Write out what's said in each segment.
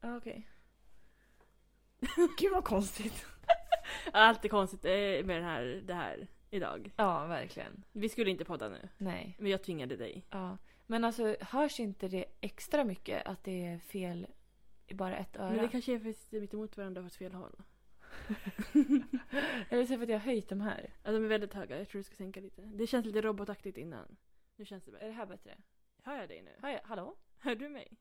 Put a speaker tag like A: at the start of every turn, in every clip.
A: Ja, Okej.
B: Gud vad konstigt.
A: Allt är konstigt eh, med den här, det här idag.
B: Ja, verkligen.
A: Vi skulle inte podda nu,
B: Nej.
A: men jag tvingade dig.
B: Ja. Men alltså, hörs inte det extra mycket att det är fel i bara ett öra?
A: Men det kanske är för att vi sitter mitt emot varandra åt fel håll.
B: Eller så är det för att jag har höjt de här.
A: Ja, de är väldigt höga. Jag tror du ska sänka lite. Det känns lite robotaktigt innan. Nu känns det
B: Är
A: bättre.
B: det här bättre?
A: Hör jag dig nu?
B: Hör jag, hallå?
A: Hör du mig?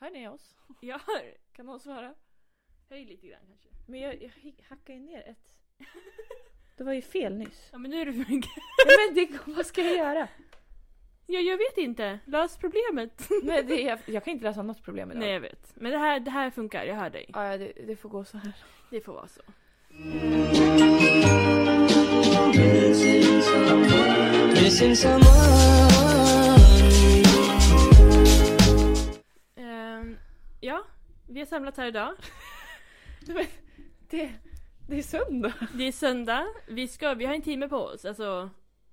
B: Hör ni oss?
A: Jag hör.
B: Kan någon svara?
A: Höj lite grann kanske.
B: Men jag, jag hackar ju ner ett. Det var ju fel nyss.
A: Ja, men nu är det för mycket.
B: Nej, men det, vad ska jag göra?
A: Ja, jag vet inte. Lös problemet.
B: Men det, jag, jag kan inte lösa något problem idag.
A: Nej, jag vet. Men det här, det här funkar. Jag hör dig.
B: Ja, ja, det, det får gå så här.
A: Det får vara så.
C: Missing someone.
A: Ehm, ja, vi har samlats här idag.
B: Det, det är söndag.
A: Det är söndag. Vi, ska, vi har en timme på oss. Alltså,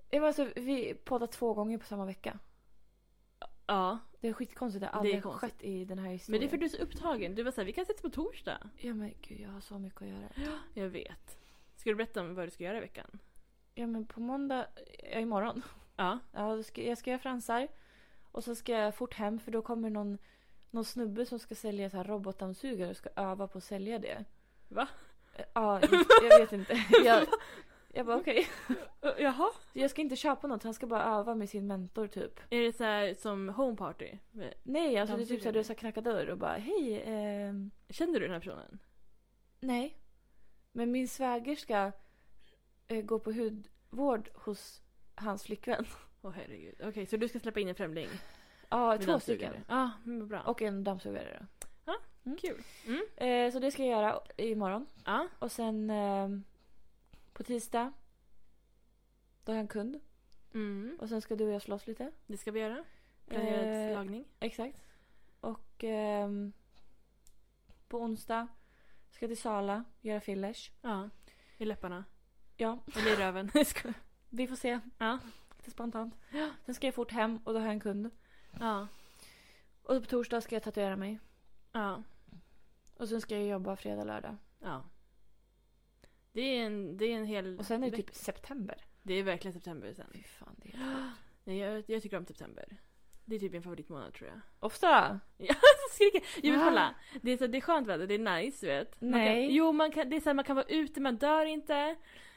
B: Ja, men Alltså, vi poddar två gånger på samma vecka.
A: ja.
B: Det är skitkonstigt. Det har
A: Det är
B: aldrig
A: konstigt.
B: skett i den här
A: Men
B: historien.
A: det är för att du är så upptagen. Du var såhär, vi kan ses på torsdag.
B: Ja men gud, jag har så mycket att göra.
A: Jag vet. Ska du berätta om vad du ska göra i veckan?
B: Ja men på måndag, ja imorgon.
A: Ja.
B: Ja, då ska, jag ska göra fransar. Och så ska jag fort hem för då kommer någon, någon snubbe som ska sälja så här robotdammsugare och ska öva på att sälja det.
A: Va?
B: Eh, Ja, jag, jag vet inte. Jag, jag bara okej.
A: Ö, Jaha?
B: Jag ska inte köpa något, han ska bara öva med sin mentor typ.
A: Är det så här som home party? Men-
B: Nej, alltså det är typ så här,
A: Dammsugare.
B: du ska knacka dörr och bara hej. ehm,
A: Känner du den här personen?
B: Nej. Men min svägerska eh, går på hudvård hos hans flickvän.
A: Åh herregud. Okej, så du ska släppa in en främling?
B: Ja,
A: Med
B: två
A: dammsugare.
B: stycken.
A: Ja, men vad bra.
B: Och en dammsugare då.
A: Kul.
B: Eh, så det ska jag göra imorgon.
A: Ja.
B: Och sen eh, på tisdag. Då har jag en kund.
A: Mm.
B: Och sen ska du och jag slåss lite.
A: Det ska vi göra. Planerad
B: Eh,
A: lagning.
B: Exakt. Och ehm, på onsdag ska jag till Sala göra fillers.
A: Ja. I läpparna.
B: Ja,
A: Eller i röven. Jag skojar.
B: vi får se.
A: Ja.
B: Lite spontant. Sen ska jag fort hem och då har jag en kund.
A: ja.
B: Och på torsdag ska jag tatuera mig.
A: Ja.
B: Och sen ska jag jobba fredag, lördag.
A: Ja. Det är en, det är en hel...
B: Och sen är det
A: veck-
B: typ september.
A: Det är verkligen september sen.
B: Fy fan, det är helt sjukt.
A: Nej, jag, jag tycker om september. Det är typ min favoritmånad tror jag.
B: Ofta!
A: Så skriker jag. Jo men
B: Va?
A: kolla! Det är, så, det är skönt väder, det är nice du vet. Man
B: Nej.
A: Kan, jo man kan, det är så här, man kan vara ute, man dör inte.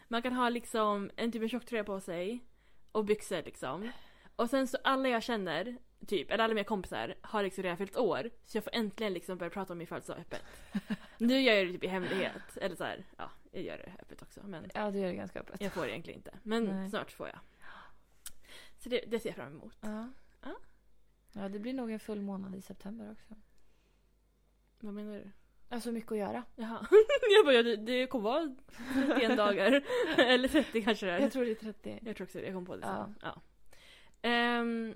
A: Man kan ha liksom en typ av tjocktröja på sig. Och byxor liksom. Och sen så alla jag känner, typ, eller alla mina kompisar har liksom redan fyllt år. Så jag får äntligen liksom börja prata om min födelsedag öppet. nu gör jag det typ i hemlighet. Eller så här, ja, jag gör det öppet också. Men
B: Ja, du gör det ganska öppet.
A: Jag får det egentligen inte, men
B: Nej.
A: snart får jag. Så det, det ser jag fram emot.
B: Ja.
A: Ja.
B: Ja, det blir nog en full månad i september också.
A: Vad menar du?
B: Alltså mycket att göra.
A: Jaha. Jag bara, ja, det, det kommer vara 31 dagar. Eller 30 kanske det är.
B: Jag tror det är 30.
A: Jag tror också det, jag kom på det
B: Ja.
A: sen. Ja. Ehm,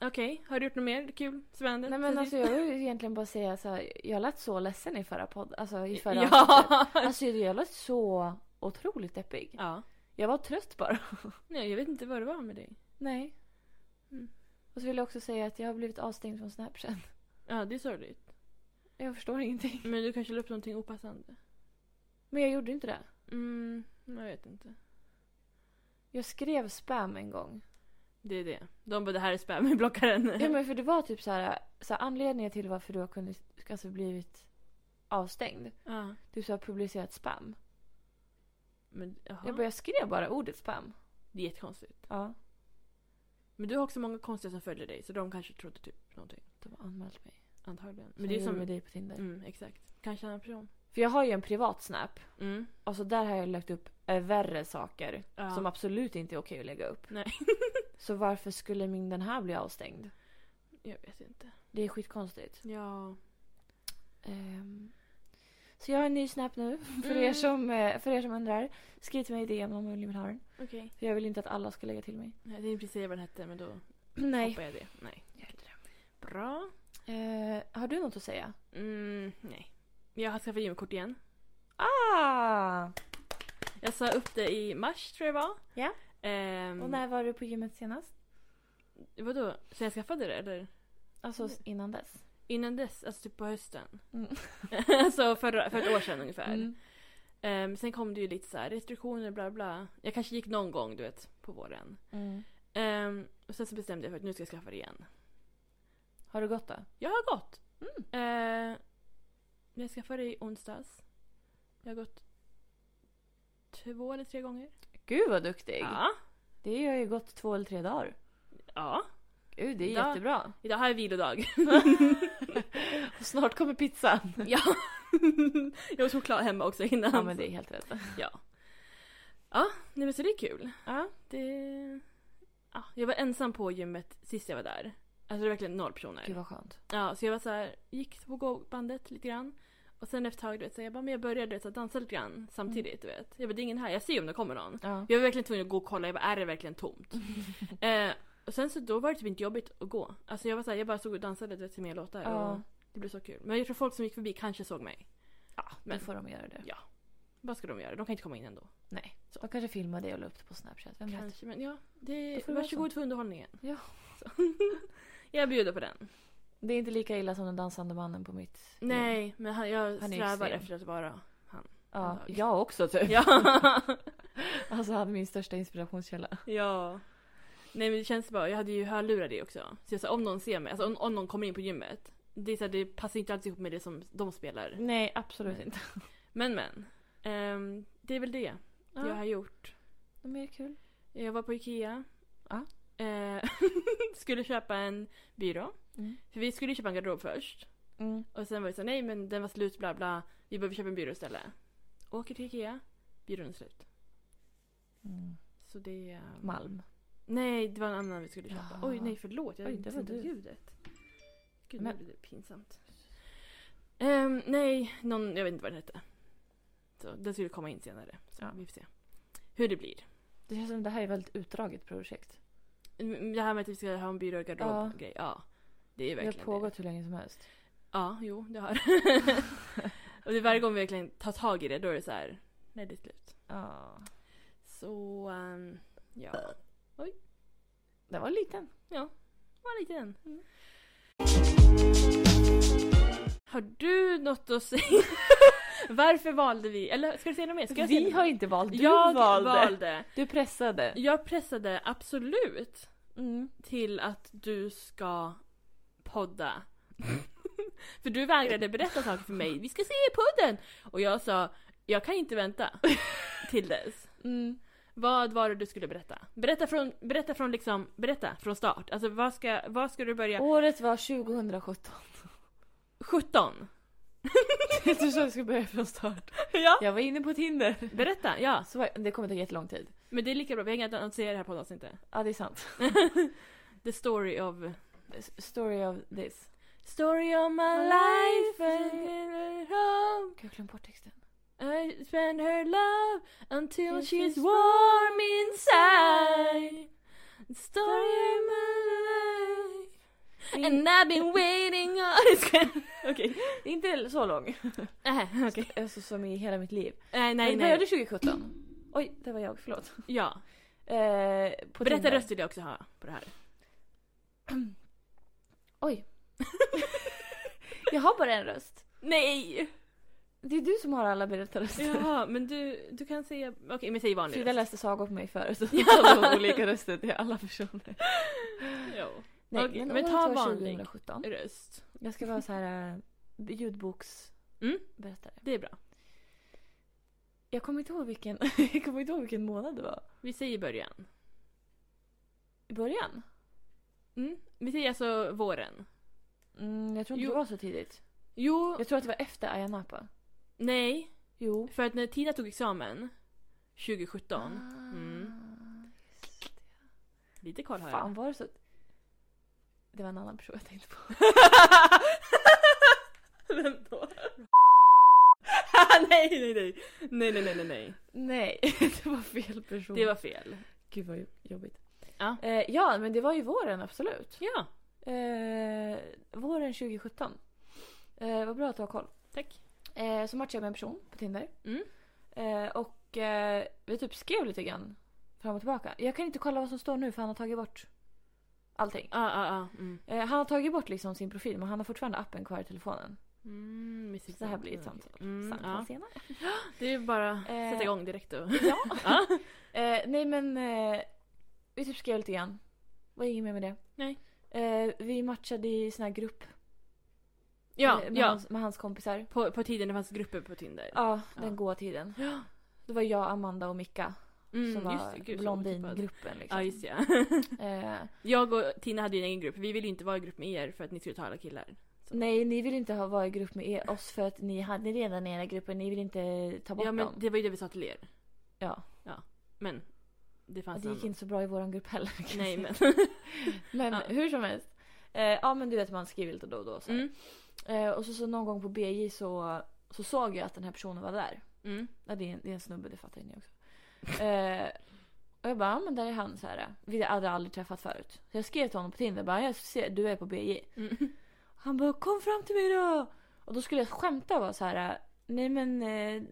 A: Okej, har du gjort något mer kul? Spännande?
B: Nej
A: sen
B: men alltså
A: sist?
B: jag vill egentligen bara säga så här, jag lät så ledsen i förra podden, alltså i förra avsnittet.
A: Ja!
B: Alltså jag lät så otroligt deppig.
A: ja.
B: Jag var trött bara.
A: Nej, jag vet inte vad det var med dig.
B: Nej.
A: Mm.
B: Och så vill jag också säga att jag har blivit avstängd från Snapchat.
A: Ja, det är sorgligt.
B: Jag förstår ingenting.
A: Men du kanske la upp någonting opassande?
B: Men jag gjorde inte det.
A: Mm, jag vet inte.
B: Jag skrev spam en gång.
A: Mhm. Det är det. De bara, det här är spam, vi blockar den.
B: Ja, men för det var typ så här, så här anledningen till varför du har kunnat, alltså blivit avstängd.
A: ja.
B: Du så har publicerat spam.
A: men, jaha.
B: Jag, bara, jag skrev bara ordet spam.
A: Det är jättekonstigt.
B: Ja.
A: Men du har också många konstiga som följer dig så de kanske trodde typ någonting.
B: De har anmält mig.
A: Antagligen. Men
B: Men
A: det är
B: som... med
A: som...
B: dig på Tinder.
A: Mm, exakt. Kanske en annan person.
B: För jag har ju en privat Snap.
A: Mm.
B: Och så där har jag lagt upp eh, värre saker.
A: Ja.
B: Som absolut inte är okej att lägga upp.
A: Nej.
B: så varför skulle min den här bli avstängd?
A: Jag vet inte.
B: Det är skitkonstigt.
A: Ja.
B: Ehm, Så jag har en ny Snap nu. För,
A: Mm.
B: er som, eh, för er som undrar, skriv till mig i DM om ni vill ha den.
A: Okej.
B: För jag vill inte att alla ska lägga till mig.
A: Jag tänkte precis säga vad den hette men då
B: Nej.
A: hoppar jag det. Nej. Bra.
B: Eh, har du något att säga?
A: Mm, nej. Jag har skaffat gymkort igen.
B: Ah!
A: Jag sa upp det i mars tror jag det var.
B: Ja.
A: Ehm,
B: Och när var du på gymmet senast?
A: Vadå? Så jag skaffade det eller?
B: Alltså s- innan dess.
A: innan dess, alltså typ på hösten.
B: Mm.
A: alltså för, för ett år sedan ungefär.
B: Mm.
A: Ehm, sen kom det ju lite så här restriktioner bla bla. Jag kanske gick någon gång du vet på våren.
B: Mm.
A: Ehm, och sen så bestämde jag för att nu ska jag skaffa det igen.
B: Har du gått då?
A: Jag har gått. Mm. jag skaffade det i onsdags. Jag har gått två eller tre gånger.
B: Gud vad duktig!
A: Ja.
B: Det har ju gått två eller tre dagar.
A: ja.
B: Gud, det är
A: Ja.
B: jättebra.
A: Idag har jag vilodag.
B: Och snart kommer pizzan.
A: ja. jag var choklad hemma också innan.
B: Ja men det är helt rätt.
A: Ja. Ja, nej men så det är kul.
B: Ja.
A: Det... Ja, jag var ensam på gymmet sist jag var där. Alltså det var verkligen noll personer.
B: Gud vad skönt.
A: Ja, så jag var så här, gick på gåbandet lite grann. Och sen efter ett tag, du vet, så jag bara, men jag började du vet, så här, dansa lite grann samtidigt, du vet. Jag bara, det är ingen här, jag ser om det kommer någon.
B: Ja.
A: Jag var verkligen tvungen att gå och kolla, jag bara, är det verkligen tomt? eh, och sen så då var det typ inte jobbigt att gå. Alltså jag var så här, jag bara stod och dansade du vet, till mina låtar och
B: Ja.
A: det blev så kul. Men jag tror folk som gick förbi kanske såg mig.
B: Ja,
A: men-
B: men får de göra det.
A: Ja. Vad ska de göra? De kan inte komma in ändå.
B: Nej.
A: Så.
B: De kanske filmar det och la upp det på Snapchat. Vem vet?
A: Kanske, men ja. Det,
B: Då får det vara
A: varsågod för underhållningen.
B: Ja.
A: Så. jag bjuder på den.
B: Det är inte lika illa som den dansande mannen på mitt gäng.
A: Nej, men han, jag
B: Han är
A: strävar
B: extrem.
A: efter att vara han.
B: Ja,
A: Dag.
B: jag också typ.
A: Ja.
B: Alltså han är min största inspirationskälla.
A: ja. Nej men det känns bara, jag hade ju hörlurar i också. Så jag sa om någon ser mig, alltså om, om någon kommer in på gymmet. Det, är så här, det passar inte alls ihop med det som de spelar.
B: Nej, absolut
A: Nej.
B: inte.
A: Men men. Ehm, det är väl det
B: Ja.
A: jag har gjort.
B: De är kul.
A: Jag var på Ikea.
B: Ja.
A: Eh, skulle köpa en byrå.
B: Mm.
A: För vi skulle köpa en garderob först.
B: Mm.
A: Och sen var det så här, nej men den var slut bla bla. Vi behöver köpa en byrå istället. Åker till Ikea. Byrån är slut. Så det... ehm,
B: Mm. Malm.
A: Nej, det var en annan vi skulle köpa.
B: Ja.
A: Oj, nej förlåt. Jag
B: Oj,
A: inte
B: det var
A: sett
B: du.
A: ljudet. Gud,
B: Men-
A: nu blev det pinsamt. Ehm, nej, någon, jag vet inte vad den hette. Så, den skulle komma in senare. Så
B: Ja.
A: vi får se hur det blir.
B: Det känns som det här är ett väldigt utdraget projekt.
A: Mm, Det här med att vi ska ha en byrå och garderob
B: Ja.
A: grej. Ja. Det är
B: Det har
A: verkligen
B: pågått hur länge som helst.
A: Ja, jo, det har Och det är varje gång vi verkligen tar tag i det, då är det så här. Nej, det är slut.
B: Ja.
A: Så, ehm, ja.
B: Den var liten.
A: Var lite den.
B: Mm.
A: Har du något att säga? Varför valde vi? Eller ska du säga något mer? Ska jag säga
B: Vi
A: något
B: har
A: mer?
B: inte valt, du
A: jag valde.
B: valde. Du pressade.
A: Jag pressade absolut
B: Mm.
A: till att du ska podda. för du vägrade berätta saker för mig. Vi ska se i podden! Och jag sa, jag kan inte vänta till dess.
B: Mm.
A: Vad var det du skulle berätta? Berätta från, berätta från liksom, berätta från start. Alltså vad ska, vad ska du börja?
B: Året var 2017.
A: 17?
B: Jag trodde jag skulle börja från start.
A: Ja.
B: Jag var inne på Tinder.
A: Berätta, ja.
B: Så var- det kommer ta jättelång tid.
A: Men det är lika bra, vi har inget annat att säga i det här poddavsnittet.
B: Ja, det är sant.
A: The story of...
B: S- Story of this.
A: Story of my life and her home
B: Gud, jag glömde bort texten.
A: I spend her love until she's warm inside Story of my life And I've been waiting on... Okej.
B: Det är inte så lång.
A: Äh, okej.
B: Alltså som i hela mitt liv.
A: Nej,
B: Men
A: nej,
B: det
A: nej.
B: började 2017. Oj, det var jag. Förlåt.
A: Ja.
B: Eh, på
A: Berätta
B: Tinder.
A: röst vill jag också ha på det här.
B: Oj. jag har bara en röst.
A: Nej!
B: Det är du som har alla berättarröster.
A: Jaha, men du, du kan säga... Okej, men säg vanlig
B: Frida
A: röst.
B: läste sagor på mig förut.
A: Ja.
B: Ja. Hon hade olika röster till alla personer.
A: Jo.
B: Nej,
A: Okej,
B: men,
A: men
B: året
A: ta
B: var
A: vanlig.
B: 2017.
A: Röst.
B: Jag ska vara så här eh, ljudboksberättare.
A: Mm. Det är bra.
B: Jag kommer inte ihåg vilken, jag kommer inte ihåg vilken månad det var.
A: Vi säger början.
B: I början?
A: Mm. Vi säger alltså våren.
B: Mm, jag tror inte
A: Jo.
B: det var så tidigt.
A: Jo,
B: Jag tror att det var efter Ayia Napa.
A: nej.
B: Jo.
A: För att när Tina tog examen 2017.
B: Ah. Mm.
A: Lite koll har jag.
B: Fan var det så... Det var en annan person jag tänkte på.
A: Vem då? nej, nej, nej. Nej, nej, nej, nej, nej.
B: Nej, det var fel person.
A: Det var fel.
B: Gud vad jo- jobbigt.
A: Ja.
B: Eh, ja, men det var ju våren absolut.
A: Ja,
B: Eh, våren 2017. Eh, vad bra att du har koll.
A: tack.
B: Eh, så matchade jag med en person på Tinder.
A: Mm.
B: Eh, och eh, vi typ skrev lite grann fram och tillbaka. Jag kan inte kolla vad som står nu för han har tagit bort allting.
A: Ja, ja, ja. mm.
B: Eh, han har tagit bort liksom sin profil men han har fortfarande appen kvar i telefonen.
A: Mm, mysigt.
B: Så det här blir ett
A: Mm,
B: samtal.
A: mm,
B: Samtal
A: ja.
B: senare.
A: Det är ju bara att
B: Eh,
A: sätta igång direkt och...
B: Ja. eh, nej men eh, vi typ skrev lite grann. Var inget mer med det.
A: Nej.
B: Eh, vi matchade i sån här grupp
A: Ja,
B: eh, med,
A: ja.
B: hans, med hans kompisar.
A: På, på tiden det fanns grupper på Tinder.
B: Ja,
A: Ja.
B: den goa tiden.
A: Ja.
B: Då var jag, Amanda och Micka
A: Mm,
B: som var
A: just det, gud, så otippad.
B: blondingruppen. Liksom.
A: Ja, just det, ja.
B: eh,
A: Jag och Tina hade ju en egen grupp. Vi ville ju inte vara i grupp med er för att ni skulle ta alla killar. Så.
B: nej, ni vill inte ha vara i grupp med er, oss för att ni hade redan era grupper. Ni vill inte ta bort
A: Ja, men
B: dem.
A: det var ju det vi sa till er.
B: Ja.
A: Men det
B: Och
A: fanns
B: det gick
A: en annan.
B: inte så bra i våran grupp heller. kan jag
A: Nej,
B: säga.
A: men...
B: Men
A: Ja.
B: hur som helst. Eh, ja men du vet man skriver lite då och då. Så här.
A: Mm,
B: Eh, och så, så någon gång på BJ så, så såg jag att den här personen var där.
A: mm,
B: Ja, det, är en, det är en snubbe, det fattar ju ni också. Eh, och jag bara, ja men där är han så här. Vi hade aldrig träffat förut. Så jag skrev till honom på Tinder, bara jag ser, du är på BJ.
A: mm.
B: Han bara, kom fram till mig då! Och då skulle jag skämta och vara så här. Nej men eh,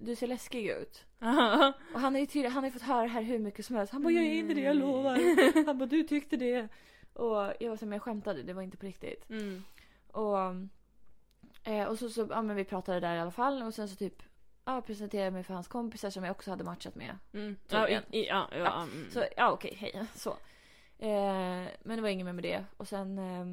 B: du ser läskig ut.
A: Ja,
B: Och han har ju tydlig, han har ju fått höra det här hur mycket som helst. Han bara jag är inte det jag
A: Mm.
B: lovar. Han bara du tyckte det. Och jag var som jag skämtade, det var inte på riktigt.
A: mm.
B: Och, eh, och så, så ja, men vi pratade där i alla fall och sen så typ ja, presenterade jag mig för hans kompisar som jag också hade matchat med.
A: Mm. Ja,
B: Tydligen.
A: i, i, ja, ja,
B: Ja,
A: mm.
B: Så ja okej, hej. Så. Eh, men det var inget mer med det. Och sen, eh,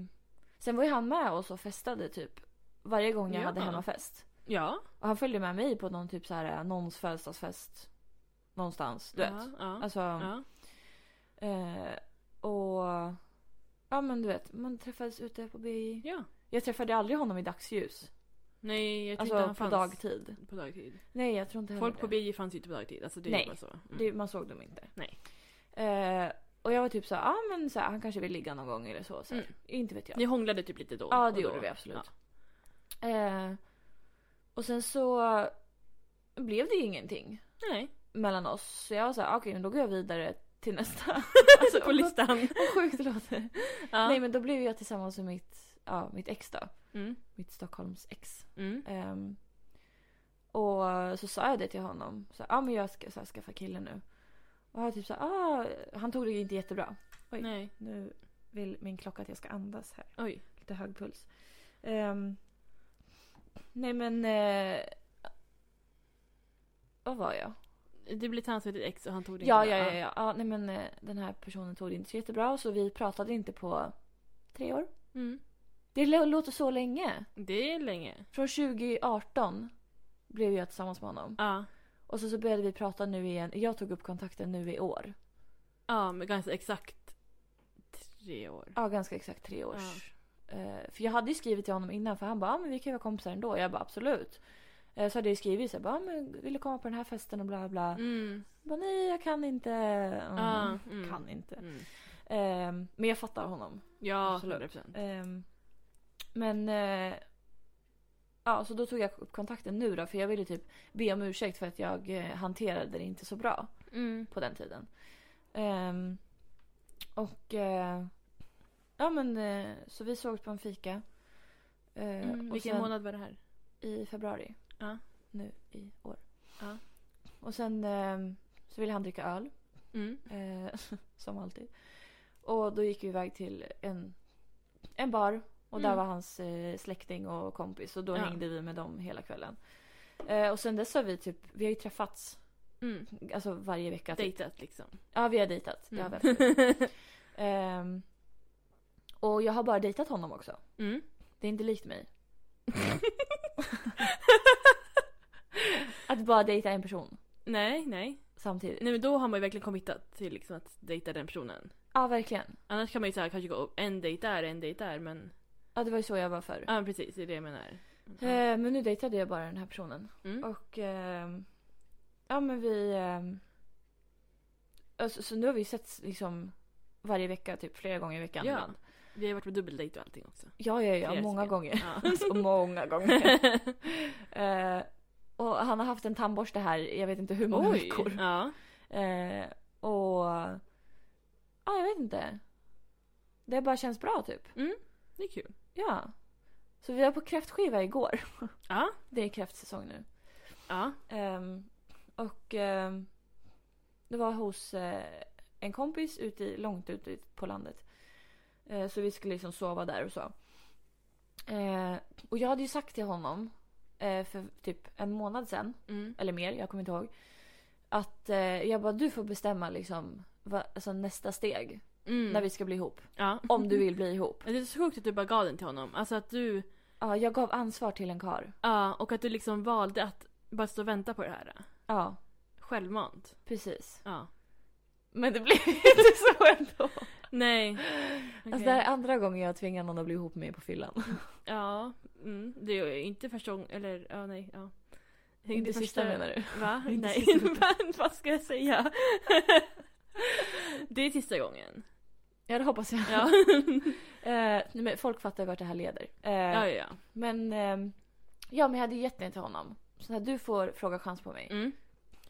B: sen var ju han med oss och festade typ varje gång jag
A: Ja.
B: hade hemmafest.
A: ja.
B: Och han följde med mig på någon typ så här, någons födelsedagsfest. Någonstans, du vet.
A: Ja, ja,
B: Alltså,
A: ja.
B: eh, och... Ja men du vet, man träffades ute på BI.
A: ja.
B: Jag träffade aldrig honom i dagsljus.
A: Nej, jag tror inte
B: Alltså på
A: han fanns.
B: dagtid.
A: På dagtid.
B: Nej, jag tror inte heller
A: Folk på
B: det.
A: BJ fanns ju inte på dagtid. Alltså det
B: Nej.
A: är bara så. Mm.
B: det. Man såg dem inte.
A: Nej.
B: Eh, och jag var typ så här, ah, men så här, han kanske vill ligga någon gång eller så. så här.
A: Mm.
B: Inte vet jag.
A: Ni hånglade typ lite då
B: Ja,
A: och
B: det
A: då.
B: gjorde vi absolut. Eh, och sen så blev det ju ingenting
A: Ja. Nej.
B: mellan oss. Så jag var så här, ah, okej, men då går jag vidare till nästa.
A: Alltså på
B: vad-
A: listan.
B: Vad sjukt det låter.
A: Ja.
B: Nej, men då blev jag tillsammans med mitt, ja, mitt ex då.
A: Mm.
B: Mitt Stockholms ex.
A: Mm.
B: Ehm, och så sa jag det till honom. Så, ah, men jag ska så här, skaffa kille nu. Och han typ så här, ah, han tog det ju inte jättebra. Oj.
A: Nej.
B: Nu vill min klocka att jag ska andas här.
A: Oj.
B: Lite hög puls. Ehm, nej men... Eh, vad var jag?
A: Det blev tillsammans med ditt ex och han tog det
B: Ja,
A: inte
B: ja,
A: bra.
B: ja, ja. ja nej, men, eh, den här personen tog det inte så jättebra så vi pratade inte på tre år.
A: Mm.
B: Det lå- låter så länge.
A: Det är länge.
B: Från 2018 blev jag tillsammans med honom.
A: Ja.
B: Och så, så började vi prata nu igen. Jag tog upp kontakten nu i år.
A: Ja, men ganska exakt tre år.
B: Ja, ganska exakt tre års. Eh, för jag hade ju skrivit till honom innan för han bara, ah, men vi kan ju vara kompisar ändå. Jag bara absolut. Eh, så hade jag ju skrivit så här, bara, ah, men vill du komma på den här festen och bla bla.
A: Mm.
B: Jag bara, nej jag kan inte. Mm,
A: Ja, mm.
B: Kan inte.
A: Mm.
B: Ehm, men jag fattar honom.
A: Ja,
B: Absolut.
A: 100 procent.
B: Ehm, men eh, ja, så då tog jag upp kontakten nu då för jag ville typ be om ursäkt för att jag eh, hanterade det inte så bra.
A: Mm.
B: på den tiden. Ehm, och eh, ja men eh, så vi sågs på en fika. Eh,
A: Mm.
B: och
A: Vilken
B: sen
A: månad var det här?
B: I februari.
A: Ja.
B: Nu i år.
A: Ja.
B: Och sen eh, så ville han dricka öl.
A: Mm.
B: Eh, som alltid. Och då gick vi iväg till en, en bar. Och där
A: Mm.
B: var hans eh, släkting och kompis. Och då
A: Ja.
B: hängde vi med dem hela kvällen. Eh, och sen dess har vi typ, vi har ju träffats
A: Mm.
B: alltså varje vecka. Typ.
A: Dejtat liksom.
B: Ja vi har dejtat. Ja,
A: Mm.
B: absolut. Ehm, och jag har bara dejtat honom också.
A: Mm.
B: Det är inte likt mig. att bara dejta en person
A: Nej, nej.
B: samtidigt.
A: Nej men då har man ju verkligen committat till liksom att dejta den personen.
B: Ja, verkligen.
A: Annars kan man ju så här, kanske gå upp en dejt där, en dejt där men...
B: Ja, det var ju så jag var förr.
A: Ja men precis, det är det jag menar. Mm.
B: Ehm, men nu dejtade jag bara den här personen.
A: Mm.
B: Och ehm, ja, men vi... ehm, alltså, så nu har vi sett liksom varje vecka, typ flera gånger i veckan.
A: Ja.
B: ibland.
A: Vi har varit på dubbeldejt och allting också.
B: ja, ja, ja
A: Flera
B: många
A: stycken.
B: gånger.
A: Ja.
B: Så många gånger. Ehm, och han har haft en tandborste här, jag vet inte hur många
A: Oj!
B: veckor.
A: Ja.
B: Eh, och... Ja, jag vet inte. Det har bara känns bra typ.
A: Det är kul.
B: Ja. Så vi var på kräftskiva igår.
A: Ja.
B: Det är kräftsäsong nu.
A: Ja.
B: Ehm, och ehm, det var hos eh, en kompis ute i, långt ute på landet. Eh, så vi skulle liksom sova där och så. Eh, och jag hade ju sagt till honom eh, för typ en månad sedan,
A: Mm.
B: eller mer, jag kommer inte ihåg. Att eh, jag bara du får bestämma liksom vad, alltså nästa steg
A: Mm.
B: när vi ska bli ihop.
A: ja.
B: Om du vill bli ihop.
A: Det är så sjukt att du bara gav den till honom. Alltså att du,
B: Ja, jag gav ansvar till en kar.
A: ja och att du liksom valde att bara stå och vänta på det här.
B: Ja,
A: Självmant.
B: precis.
A: Ja.
B: Men det blev inte så ändå.
A: Nej. Okej.
B: Alltså det här är andra gången jag tvingar någon att bli ihop med mig på fyllan.
A: Ja, mm, det är ju inte första gången, eller ja nej, ja. Det är
B: Inte sista menar du?
A: Va?
B: Inte
A: nej,
B: sista.
A: men vad ska jag säga? det är sista gången.
B: Ja, det hoppas jag.
A: Ja,
B: Eh, nej, men folk fattar vart det här leder. Eh,
A: ja, ja. ja.
B: Men, ehm, ja, men jag hade gett den till honom. Så här, du får fråga chans på mig.
A: Mm.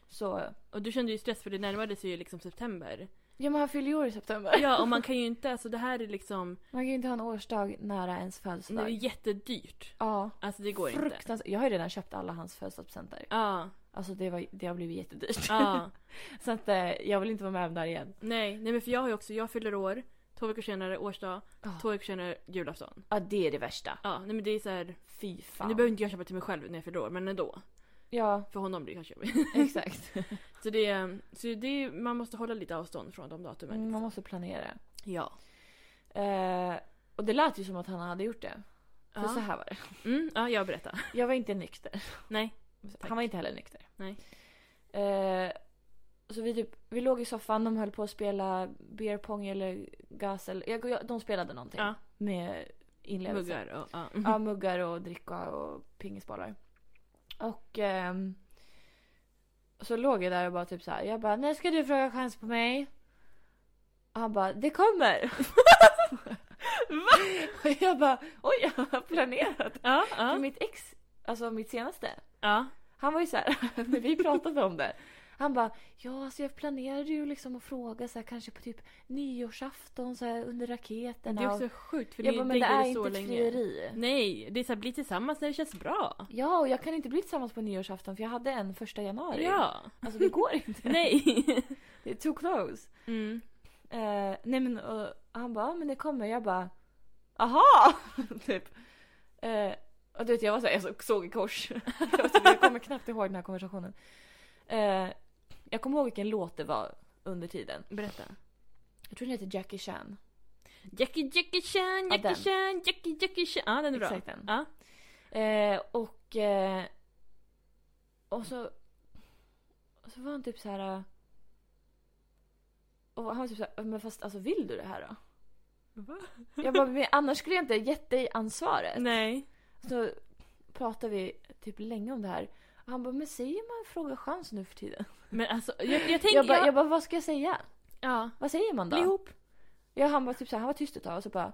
B: Så,
A: Och du kände ju stress för det närmade sig ju liksom september.
B: ja men han fyller ju år i september.
A: Ja, och man kan ju inte, alltså det här är liksom,
B: Man kan ju inte ha en årsdag nära ens
A: det är
B: födelsedag.
A: jättedyrt.
B: Ja,
A: Alltså det går inte.
B: fruktansvärt. Jag har ju redan köpt alla hans födelsedagspresenter.
A: Ja,
B: Alltså det, var, det har blivit jättedyrt.
A: ja.
B: Så att eh, jag vill inte vara med om det här igen.
A: Nej, nej men för jag har ju också, jag fyller år, två veckor senare årsdag,
B: Ja.
A: två veckor senare julafton.
B: Ja, det är det värsta.
A: Ja, nej men det är så här,
B: Fy Ah. fan.
A: nu behöver inte jag köpa till mig själv när jag fyller år, men ändå.
B: Ja,
A: För honom blir det kanske jobbigt.
B: exakt.
A: Så det, så det är, man måste hålla lite avstånd från de datumen.
B: Mm, Man
A: liksom.
B: måste planera.
A: Ja.
B: Eh, och det lät ju som att han hade gjort det. För
A: Ja.
B: så här var det.
A: Mm, ja, jag berättar.
B: Jag var inte nykter.
A: Nej.
B: Han var inte heller nykter.
A: Nej.
B: Eh, så vi, typ, vi låg i soffan, de höll på att spela beer pong eller gas eller... Jag, jag, de spelade någonting
A: Ja,
B: med inlevelse.
A: muggar och ja.
B: Ja, muggar och dricka och pingisbollar. Och ehm, så låg jag där och bara typ så här. Jag bara, när ska du fråga chans på mig? Och han bara, det kommer. Va? Och jag bara, oj, jag har planerat.
A: Ja,
B: För
A: ja.
B: mitt ex, alltså mitt senaste,
A: ja.
B: han var ju så här, när vi pratade om det. Han bara, ja alltså jag planerade ju liksom att fråga så här, kanske på typ nyårsafton så här, under raketerna.
A: Det är
B: Och
A: också sjukt för
B: jag
A: ni
B: bara, men det
A: diggade
B: är
A: så
B: inte ett
A: länge.
B: frieri.
A: Nej, det är såhär, bli tillsammans när det känns bra.
B: Ja, och jag kan inte bli tillsammans på nyårsafton för jag hade en första januari.
A: Ja.
B: Alltså det går inte.
A: Nej.
B: Det är too close.
A: Mm.
B: Eh, nej men och han bara, "Ja, men det kommer. Jag bara, aha! typ. Eh, och du vet jag var så här, jag såg- såg i kors. jag, var typ, jag kommer knappt ihåg den här konversationen. Eh, jag kommer ihåg vilken låt det var under tiden.
A: Berätta.
B: Jag tror den heter Jackie Chan.
A: Jackie Jackie Chan,
B: Ja,
A: Jackie
B: den.
A: Chan, Jackie Jackie Chan. Ja, den är bra.
B: Exakt den.
A: Ja.
B: Eh, och, eh, och så och så var han typ så här. eh, Och han var typ så här, men fast alltså vill du det här då?
A: Va?
B: Jag bara, men annars skulle jag inte gett dig ansvaret.
A: Nej.
B: Så pratade vi typ länge om det här. Och han bara, men säger man fråga chans nu för tiden?
A: Men alltså, jag, jag tänker...
B: Jag bara, jag bara, vad ska jag säga?
A: ja.
B: Vad säger man
A: Bli
B: då?
A: ihop.
B: Ja, han, bara, typ så här, han var tyst ett tag och så bara,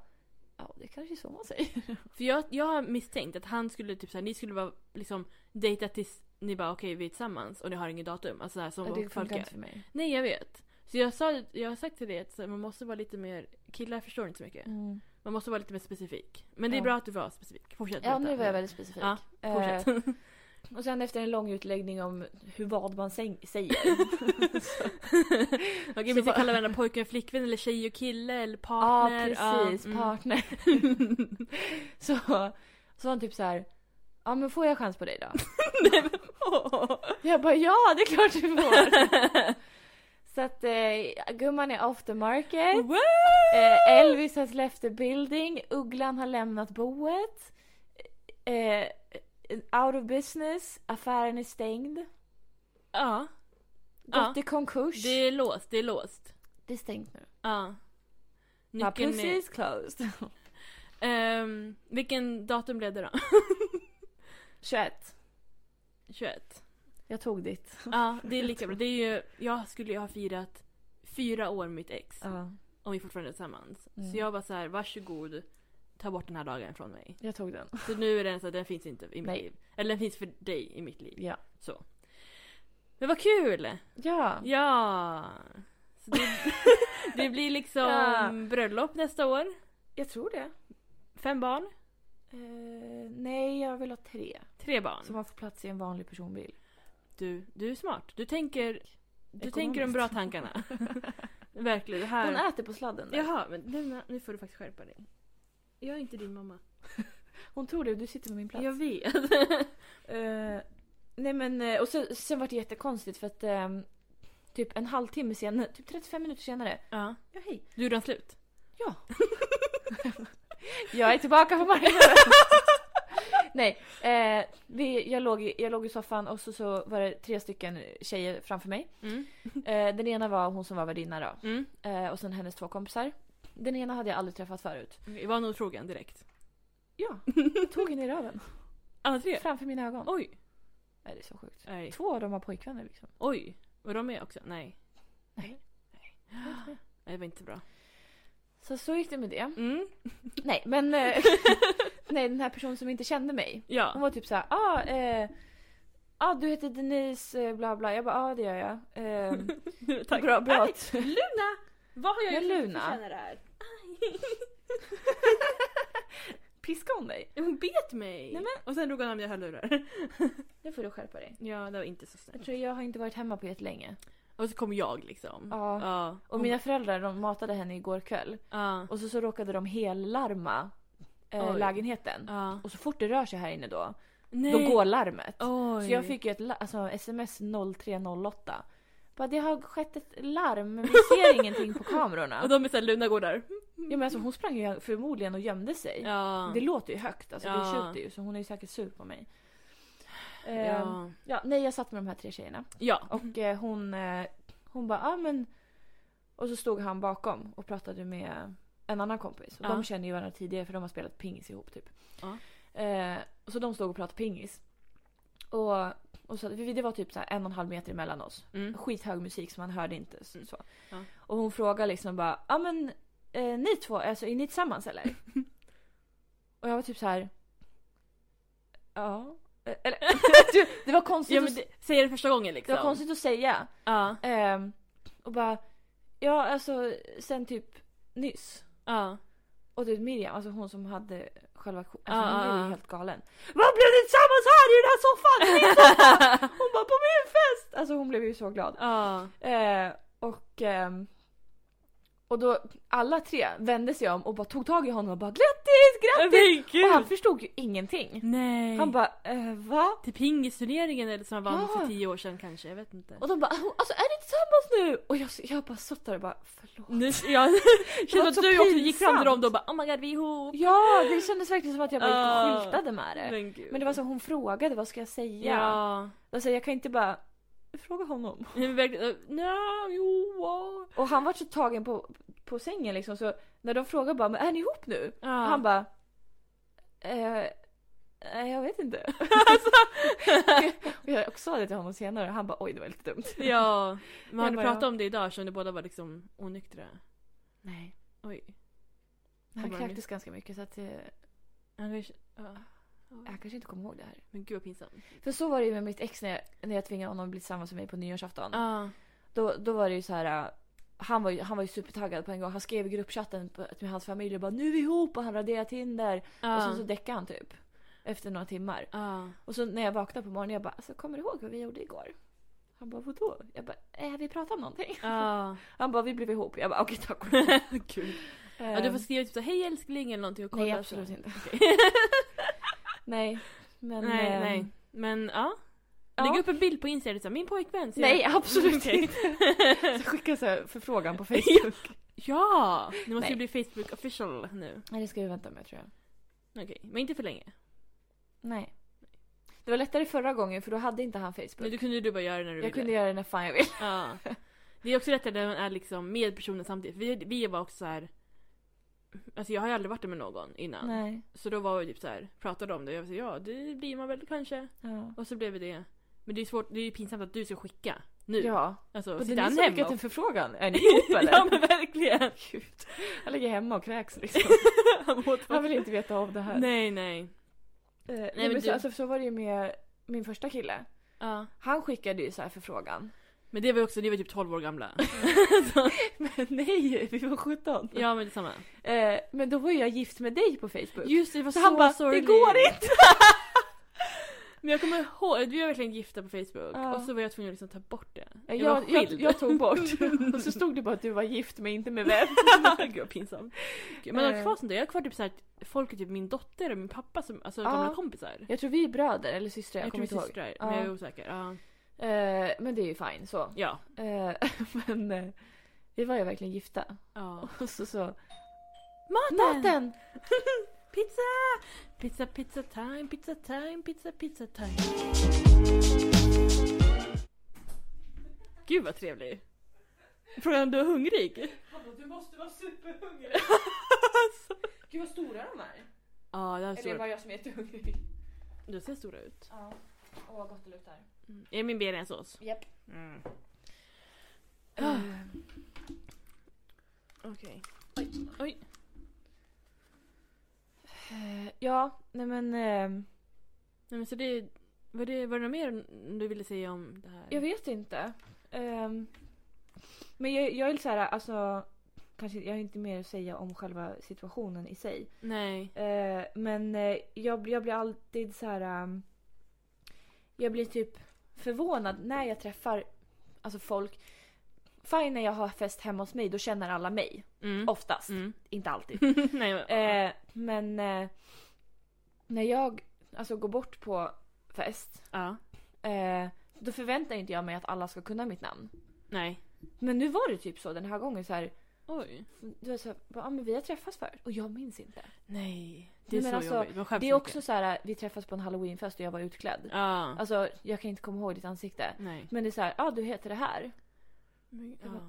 B: ja det kanske är så man säger.
A: För jag, jag har misstänkt att han skulle typ såhär, ni skulle vara liksom dejta tills ni bara okej vi är tillsammans och ni har inget datum. Alltså såhär som
B: det
A: folk
B: funkar
A: gör.
B: inte för mig.
A: Nej jag vet. Så jag, sa, jag har sagt till dig att så här, man måste vara lite mer, killar förstår inte så mycket.
B: Mm.
A: Man måste vara lite mer specifik. Men det är
B: Ja.
A: bra att du var specifik. Fortsätt
B: Ja,
A: berätta.
B: nu var jag väldigt specifik.
A: Ja,
B: Eh,
A: Fortsätt.
B: Och sen efter en lång utläggning om hur vad man säng- säger.
A: Okej
B: så
A: vi ska
B: bara-
A: kalla varandra pojke och flickvän eller tjej och kille eller
B: Ja,
A: partner.
B: precis.
A: mm.
B: Partner. så, så var han typ så här. Ja men får jag chans på dig då? jag bara ja det är klart du får. så att eh, gumman är off the market.
A: Wow!
B: Eh, Elvis has left the building. Ugglan har lämnat boet. Eh, out of business. Affären är stängd.
A: Ja,
B: Gått
A: Ja.
B: i konkurs.
A: det är låst, det är låst.
B: det är stängt nu.
A: Ja.
B: Ja,
A: Nyckeln
B: pussy
A: är...
B: is closed.
A: Ehm, vilken datum blev det då?
B: 21.
A: 21.
B: Jag tog ditt.
A: Ja, det är lika bra. Det är ju, jag skulle ju ha firat fyra år med mitt ex
B: Ja,
A: om vi fortfarande är tillsammans.
B: Mm.
A: Så jag var så här, varsågod, ta bort den här dagen från mig.
B: jag tog den.
A: Så nu är den så att den finns inte i mitt
B: Nej.
A: liv. Eller den finns för dig i mitt liv.
B: Ja.
A: Så. Men vad kul!
B: Ja.
A: Ja! Så det, det blir liksom
B: Ja.
A: bröllop nästa år.
B: Jag tror det.
A: Fem barn,
B: Eh, nej, jag vill ha tre.
A: tre barn.
B: Så man får plats i en vanlig personbil.
A: Du, du är smart. Du tänker, du
B: Ekonomiskt.
A: tänker de bra tankarna. Verkligen, det här...
B: Hon äter på sladden där.
A: Jaha, men nu, nu får du faktiskt skärpa dig. Jag är inte din mamma.
B: Hon tror det, du sitter med min plats.
A: Jag vet.
B: Eh, nej men, eh, och sen, sen var det jättekonstigt för att ehm, typ en halvtimme senare, typ 35 minuter senare.
A: ja.
B: Ja hej.
A: Du gjorde den slut?
B: Ja. jag är tillbaka på marknaden. nej, eh, vi, jag, låg, i- jag låg i soffan och så, så var det tre stycken tjejer framför mig.
A: Mm.
B: Eh, den ena var hon som var värdinna då.
A: Mm.
B: Eh, och sen hennes två kompisar. Den ena hade jag aldrig träffat förut.
A: Okej, Var hon otrogen direkt?
B: Ja, jag tog henne i röven.
A: Alla tre?
B: Framför mina ögon.
A: Oj!
B: Nej, det är så sjukt.
A: Nej.
B: Två av dem har pojkvänner liksom.
A: Oj! Var de med också? Nej.
B: Nej.
A: Nej. Nej, det var inte bra.
B: Så så gick det med det.
A: Mm.
B: Nej, men... Eh, nej, den här personen som inte kände mig. Hon
A: Ja.
B: var typ såhär, ah, eh, ah, du heter Denise, eh, bla bla. Jag bara, ah, det gör jag. Eh,
A: Tack.
B: bra, bra.
A: Aj,
B: att-
A: Luna! Vad har jag
B: Ja,
A: gjort för att
B: Luna.
A: förtjäna det här?
B: Piska hon dig?
A: Hon bet mig!
B: Nej,
A: Och sen drog hon av mina hörlurar.
B: Nu får du skärpa dig.
A: Ja, det var inte så
B: Jag
A: snällt.
B: tror jag har inte varit hemma på jättelänge.
A: Och så kom jag liksom.
B: Ja.
A: ja.
B: Och mina föräldrar de matade henne igår kväll.
A: Ja.
B: Och så, så råkade de hellarma eh,
A: Oj.
B: lägenheten.
A: ja.
B: Och så fort det rör sig här inne då,
A: Nej.
B: då går larmet.
A: Oj.
B: Så jag fick ju ett la- alltså, sms 0308. Bara, det har skett ett larm men vi ser ingenting på kamerorna.
A: Och de är såhär, Luna går där.
B: Ja, men alltså, hon sprang ju förmodligen och gömde sig.
A: Ja.
B: Det låter ju högt, alltså, det
A: Ja.
B: tjuter ju så hon är ju säkert sur på mig. Ehm,
A: ja.
B: ja, nej, jag satt med de här tre tjejerna
A: Ja.
B: och eh, hon, eh, hon bara ah, men... Och så stod han bakom och pratade med en annan kompis. Och
A: Ja.
B: De känner ju varandra tidigare för de har spelat pingis ihop typ.
A: Ja.
B: Eh, och så de stod och pratade pingis. Och, och så, vi- det var typ så här en och en halv meter emellan oss
A: Mm.
B: skithög musik som man hörde inte. s- Så.
A: Ja.
B: Och hon frågar liksom bara, ja men eh, ni två, alltså är ni tillsammans eller? och jag var typ så här. ja. Eh, Eller, Du, det var konstigt,
A: ja men
B: att, det,
A: det, säger det första gången liksom.
B: var konstigt att säga.
A: Ja.
B: Ehm, och bara, ja alltså sen typ nyss.
A: Ja.
B: Och du vet, Miriam, alltså hon som hade själva alltså
A: Ja,
B: hon
A: ja,
B: blev ju
A: ja.
B: helt galen. Vad blev ni tillsammans här i den här soffan? I min soffa?" hon bara på min fest! Alltså hon blev ju så glad.
A: Ja.
B: Eh, och, ehm, och då alla tre vände sig om och bara tog tag i honom och bara grattis, grattis!
A: Men
B: Och han
A: gud!
B: förstod ju ingenting.
A: Nej.
B: Han bara eh, va?
A: Till pingisturneringen eller som han vann
B: Ja.
A: för tio år sedan kanske, jag vet inte.
B: Och de bara alltså är ni tillsammans nu? Och jag, jag bara satt där och bara förlåt.
A: Nu, jag känner
B: var
A: att
B: så
A: du också gick fram till dem
B: pinsamt.
A: då och bara oh my god vi är ihop.
B: Ja det kändes verkligen som att jag bara
A: Ah.
B: skyltade med det.
A: Men gud.
B: Men det var så hon frågade vad ska jag säga?
A: Ja.
B: Alltså jag kan inte bara fråga honom.
A: Men verkligen, no, jo, wow.
B: Och han var så tagen på, på sängen liksom så när de frågade bara men är ni ihop nu?
A: ja.
B: Och Han bara... Eh, nej, jag vet inte. och jag också sa det till honom senare och han bara oj det var lite dumt.
A: Ja. Men har
B: Jag
A: ni
B: bara,
A: pratat
B: ja.
A: om det idag eftersom ni båda var liksom onyktra?
B: Nej.
A: Oj.
B: Han
A: Vad var det
B: kräktes ganska mycket så att eh,
A: Han kanske- ja.
B: jag kanske inte kommer ihåg det här.
A: Men gud vad pinsamt.
B: För så var det ju med mitt ex när jag, när jag tvingade honom att bli tillsammans med mig på nyårsafton.
A: Ja.
B: Då, då var det ju så här. eh, Han var, ju, han var ju supertaggad på en gång. Han skrev i gruppchatten på, med hans familj och bara nu är vi ihop och han raderar Tinder.
A: Ja.
B: Och sen så däckade han typ. Efter några timmar.
A: Ja.
B: Och så när jag vaknade på morgonen jag bara alltså, kommer du ihåg vad vi gjorde igår? Han bara vadå? Jag bara eh, vi pratade om någonting.
A: Ja.
B: Han bara vi blev ihop. Jag bara okej tack och lov.
A: Gud. Ja, du får skriva typ så hej älskling eller någonting och kolla.
B: Nej
A: så.
B: absolut inte. nej. Men,
A: nej,
B: ehm,
A: nej. Men ja.
B: Ja.
A: Lägg upp en bild på Instagram, liksom, min pojkvän. ser
B: Nej
A: jag."
B: absolut
A: Okej.
B: inte. Så skicka så här förfrågan på Facebook.
A: Ja! Nu måste
B: Nej.
A: ju bli Facebook official nu.
B: nej det ska vi vänta med tror jag.
A: Okej, men inte för länge.
B: Nej. Det var lättare förra gången för då hade inte han
A: Men
B: Facebook.
A: du kunde ju du bara göra det när du
B: Jag
A: ville.
B: kunde göra det när fan jag vill.
A: Ja. Det är också lättare när man är liksom med personen samtidigt. Vi, vi var också så här. Alltså jag har ju aldrig varit där med någon innan.
B: Nej.
A: Så då var vi typ så här, pratade om det och jag sa ja, det blir man väl kanske.
B: Ja.
A: Och så blev vi det. Men det är svårt, det är ju pinsamt att du ska skicka nu.
B: Ja.
A: Alltså,
B: Och det
A: sitter
B: är ni
A: han
B: som
A: hemma
B: skickat
A: och
B: en förfrågan. Är ni ihop eller?
A: Ja men verkligen!
B: Gud. Jag ligger hemma och kräks liksom.
A: Han åt
B: Han vill inte veta av det här.
A: Nej nej.
B: Eh, nej,
A: men
B: men
A: du-
B: så, alltså, så var det ju med min första kille.
A: Ja.
B: Han skickade ju så här förfrågan.
A: Men det var ju också, ni var typ 12 år gamla.
B: Men nej, vi var 17.
A: Ja men detsamma.
B: Eh, men då var ju jag gift med dig på Facebook.
A: Just det, det var
B: så
A: så,
B: han bara, det
A: sorgligt.
B: går inte!
A: Men jag kommer ihåg, vi var verkligen gifta på Facebook
B: Ja.
A: och så var jag tvungen att liksom ta bort det.
B: Jag,
A: var
B: Eh, jag, jag, tog bort. Och så stod det bara att du var gift men inte med vem.
A: Gud vad pinsamt. Gud, Men jag har
B: Eh.
A: kvar sånt där. Jag har kvar typ såhär att folk är typ min dotter och min pappa som alltså
B: Ja.
A: gamla kompisar. Jag,
B: Jag tror vi är bröder eller systrar, jag,
A: tror
B: kommer
A: det
B: inte ihåg.
A: är systrar,
B: Ja.
A: men jag är osäker. Ja.
B: Eh, men det är ju fine så.
A: Ja.
B: Eh, men eh, vi var ju verkligen gifta.
A: ja.
B: Och så så...
A: Maten!
B: Maten!
A: Pizza! Pizza, pizza time, pizza time, pizza, pizza time. Gud vad trevlig. Frågan om du är hungrig?
B: Du måste vara superhungrig!
A: Alltså.
B: Gud vad stora de är!
A: Ja, det här är
B: Eller
A: stora.
B: var jag som är jättehungrig?
A: Du ser stora ut.
B: Ja. Åh vad gott det luktar.
A: Mm. Är min bearnaisesås?
B: Japp.
A: Mm.
B: Ah.
A: Okej. Oj.
B: Eh, ja, nej men... ehm,
A: Nej men så det... Var det, var det något mer du ville säga om det här?
B: Jag vet inte. Ehm, men jag, jag är lite såhär, alltså... Kanske, jag har inte mer att säga om själva situationen i sig.
A: Nej.
B: Eh, men eh, jag, blir- jag blir alltid så här. ehm, jag blir typ förvånad när jag träffar alltså folk. Fine när jag har fest hemma hos mig, då känner alla mig.
A: Mm.
B: Oftast.
A: Mm.
B: Inte alltid.
A: Nej men...
B: Eh, men eh, när jag alltså, går bort på fest,
A: Ja.
B: eh, då förväntar inte jag mig att alla ska kunna mitt namn.
A: Nej.
B: Men nu var det typ så den här gången. Så här,
A: Oj.
B: du vet, så här, bara, ah, men vi har träffats förut och jag minns inte.
A: Nej. Det är
B: Nej, men
A: så
B: alltså,
A: jobbigt. Man skäms
B: Det är
A: så
B: också
A: mycket.
B: så här, eh, vi träffas på en halloweenfest och jag var utklädd.
A: Ja.
B: Alltså, jag kan inte komma ihåg ditt ansikte.
A: Nej.
B: Men det är så här, ja ah, du heter det här.
A: Men,
B: Jag
A: ja.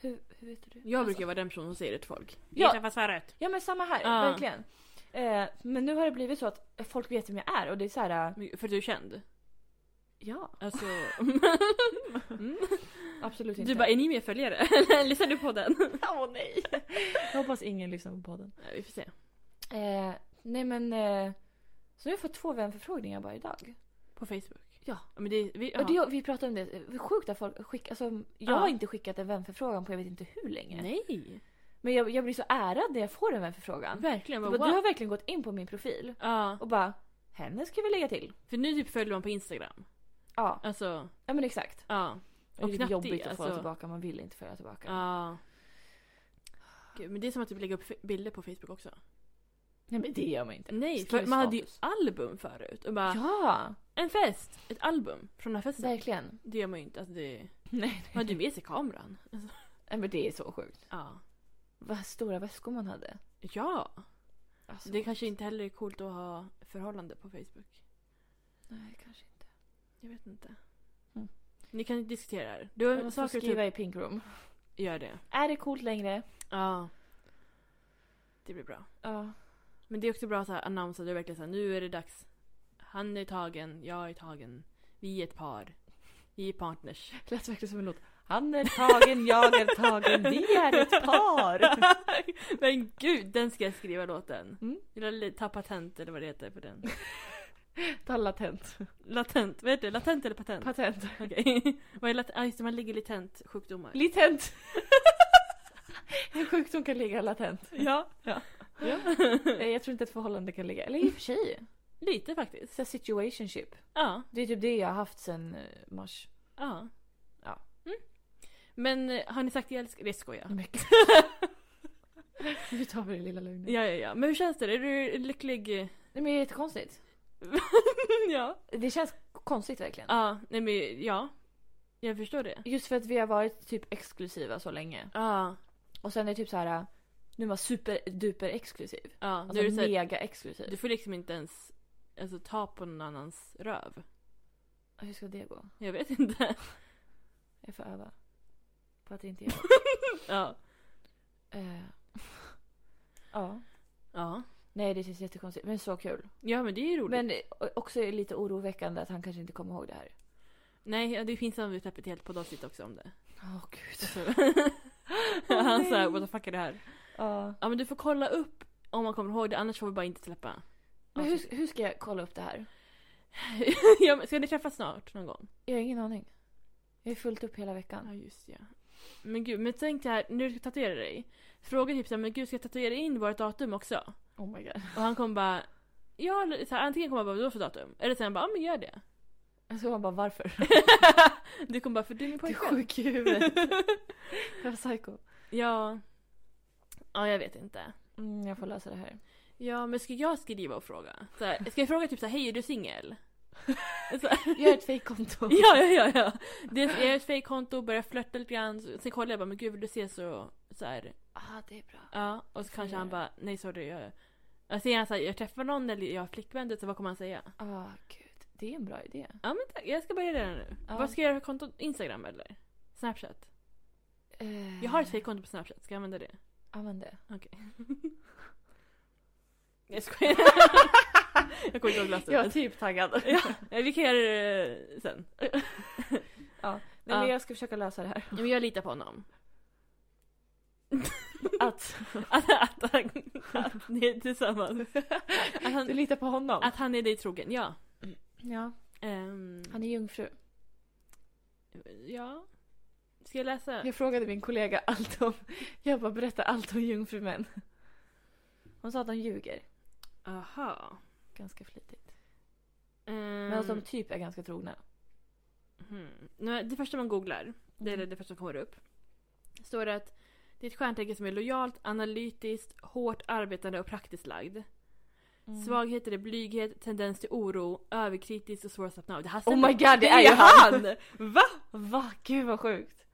B: Hur, hur vet du det?
A: Jag
B: Alltså,
A: brukar vara den personen som säger det till folk. Vi
B: Ja.
A: träffas förut.
B: Ja men samma här,
A: Ja.
B: verkligen. Eh, men nu har det blivit så att folk vet vem jag är och det är så här, eh,
A: Men- För du är känd.
B: ja.
A: Alltså... mm.
B: Absolut inte.
A: Du bara, är ni mer följare? Lyssnar du på den?
B: åh nej. Jag hoppas ingen lyssnar på podden.
A: Nej, vi får se.
B: Eh, nej men, eh, så nu har jag fått två vänförfrågningar bara idag.
A: På Facebook.
B: Ja.
A: Men det, vi,
B: Och det, vi pratade om det, eh, det är sjukt att folk skickar, alltså jag
A: Ja.
B: har inte skickat en vänförfrågan på jag vet inte hur länge.
A: Nej.
B: Men jag, jag blir så ärad när jag får en vänförfrågan.
A: Verkligen.
B: Du
A: Bara,
B: har
A: wow.
B: verkligen gått in på min profil
A: Ja.
B: och bara henne ska vi lägga till.
A: För nu typ följer man på Instagram.
B: Ja,
A: Alltså,
B: ja men exakt.
A: ja.
B: Och det är
A: knappt
B: jobbigt
A: det,
B: att
A: alltså.
B: föra tillbaka, man vill inte föra tillbaka.
A: Ja. Gud, men det är som att typ lägga upp f- bilder på Facebook också.
B: Nej men det gör man inte.
A: Nej,
B: Skriv
A: för man hade ju
B: status.
A: album förut. Och bara,
B: Ja,
A: en fest! Ett album från den här festen.
B: verkligen.
A: Det gör man ju inte. Alltså, det...
B: Nej,
A: Man hade ju med sig kameran. Alltså,
B: nej men det är så sjukt.
A: ja.
B: Vad stora väskor man hade.
A: Ja!
B: Alltså,
A: Det kanske inte heller är coolt att ha förhållande på Facebook.
B: Nej, kanske inte.
A: Jag vet inte.
B: Mm.
A: Ni kan diskutera det här.
B: Jag
A: Du har
B: måste
A: saker
B: skriva
A: typ,
B: i pink room.
A: gör det.
B: Är det coolt längre?
A: Ja. Det blir bra.
B: Ja.
A: Men det är också bra att annonsa, du är verkligen såhär, nu är det dags. Han är tagen, jag är tagen. Vi är ett par. Vi är partners.
B: Lät verkligen som en låt. Han är tagen, jag är tagen, vi är ett par.
A: Men gud, den ska jag skriva låten.
B: Mm.
A: Eller ta patent eller vad det heter på den.
B: Ta latent.
A: Latent, vad heter det? Latent eller patent?
B: Patent.
A: Okej. Vad är latent? Ah, just det, man ligger latent sjukdomar.
B: Litent. En sjukdom kan ligga latent.
A: ja.
B: Ja.
A: ja.
B: Nej, Jag tror inte ett förhållande kan ligga. Eller i och för sig.
A: Lite faktiskt.
B: Så här situationship.
A: Ja.
B: Det är typ det jag har haft sen eh, mars.
A: Ja.
B: Ja.
A: Mm. Men eh, har ni sagt jag älskar... Det skojar jag.
B: Men gud. Nu tar vi det lilla lugnet.
A: Ja, ja, ja. Men hur känns det? Är du lycklig?
B: Nej, men det är jättekonstigt.
A: ja.
B: Det känns konstigt verkligen.
A: Ja, nej men ja. Jag förstår det.
B: Just för att vi har varit typ exklusiva så länge.
A: Ja.
B: Och sen är det typ så här. Nu är man superduper exklusiv.
A: Ja.
B: Alltså
A: du, är så här,
B: mega exklusiv.
A: du får liksom inte ens alltså, ta på någon annans röv.
B: Hur ska det gå?
A: Jag vet inte.
B: Jag får öva. På att inte göra
A: ja.
B: det. Eh. Ja.
A: Ja.
B: Nej det känns jättekonstigt. Men så kul.
A: Ja men det är ju roligt.
B: Men eh, o- också är lite oroväckande att han kanske inte kommer ihåg det här.
A: Nej, ja, det finns om vi släpper ett helt poddavsnitt också om det.
B: Åh gud.
A: Så. Han
B: Alltså. nej.
A: sa what the fuck är det här?
B: Ja.
A: Ja men du får kolla upp om man kommer ihåg det annars får vi bara inte släppa.
B: Men
A: avsnittet.
B: hur, hur ska jag kolla upp det här?
A: ja, men ska ni träffas snart någon gång?
B: Jag har ingen aning. Jag är fullt upp hela veckan.
A: Ja just ja. Men gud, men tänk så här, när du ska tatuera dig. Fråga typ såhär, men gud ska jag tatuera in vårt datum också?
B: Oh my god.
A: Och han kommer bara, ja, eller så här, antingen kommer jag bara vadå för datum? Eller sen bara ja men gör det.
B: Så Alltså, man bara varför?
A: Du kommer bara för du är min
B: Du är
A: pojkvän.
B: sjuk i huvudet. Jag är psycho.
A: ja. Ja jag vet inte.
B: Mm, jag får lösa det här.
A: Ja men ska jag skriva och fråga? Så här, ska jag fråga typ så här, hej är du singel? Så-
B: Gör ett fejkkonto.
A: Ja, ja, ja, ja. Det är jag gör ett fejkkonto, börjar flörta lite grann, så- sen kollar jag bara men gud vill du ses och så här,
B: Ah, det är bra.
A: ja. Och så kanske han bara nej sorry jag... Jag ser han såhär, jag träffar någon eller jag har flickvän så vad kommer han säga?
B: Ah, gud. Det är en bra idé.
A: Ja men tack, jag ska börja redan nu.
B: Ja.
A: Vad ska jag göra för konto? Instagram eller? Snapchat?
B: Eh,
A: Jag har ett fejkkonto på Snapchat, ska jag använda det?
B: Använd det.
A: Jag skojar. jag kommer inte ihåg
B: Jag är
A: glasset.
B: typ taggad.
A: Ja, eh, vi kan göra det eh, sen.
B: Nej,
A: Ja.
B: men jag ska försöka lösa det här.
A: Ja, men jag litar på honom.
B: Att
A: Att, att, han, att ni är tillsammans. Att
B: du
A: han,
B: litar på honom.
A: att han är dig trogen, ja.
B: Ja,
A: Ehm,
B: han är jungfru.
A: ja. Ska jag läsa?
B: Jag frågade min kollega allt om... Jag bara berätta allt om jungfrumän. Hon sa att de ljuger
A: Aha.
B: ganska flitigt.
A: Ehm,
B: Men att de typ är ganska trogna.
A: hmm. Nu, Det första man googlar, det är det första som kommer upp. Står det att det är ett stjärntecken som är lojalt, analytiskt, hårt arbetande och praktiskt lagd.
B: Mm.
A: Svagheter är blyghet, tendens till oro, överkritisk och svår att slappna av. Det här
B: Oh
A: stämmer.
B: my god, det, är ju han!
A: Va?
B: Va? Gud vad sjukt.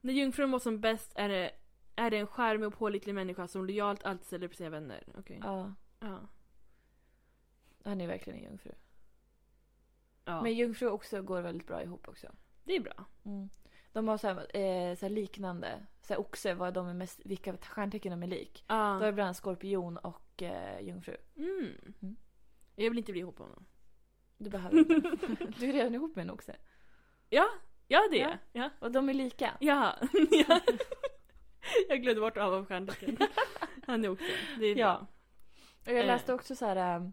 A: När jungfrun mår som bäst är det, är det en charmig och pålitlig människa som lojalt alltid ställer upp sina vänner. Okej.
B: Ja,
A: Ja.
B: han är verkligen en jungfru.
A: ja.
B: Men jungfru också går väldigt bra ihop också.
A: det är bra.
B: De har så här, eh, så här liknande. Så här oxe, vad de är mest, vilka stjärntecken de är lik. Då är
A: Ja.
B: det bland annat skorpion och eh, jungfru.
A: Mm.
B: Mm.
A: Jag vill inte bli ihop med honom.
B: Du behöver inte. Du är redan ihop med en oxe.
A: Ja, ja det är
B: Ja.
A: jag. Ja.
B: Och de är lika.
A: Ja. ja. jag glömde bort att han var stjärntecken. Han är också. Det är
B: Ja.
A: bra.
B: Och jag
A: Eh.
B: läste också så här ehm,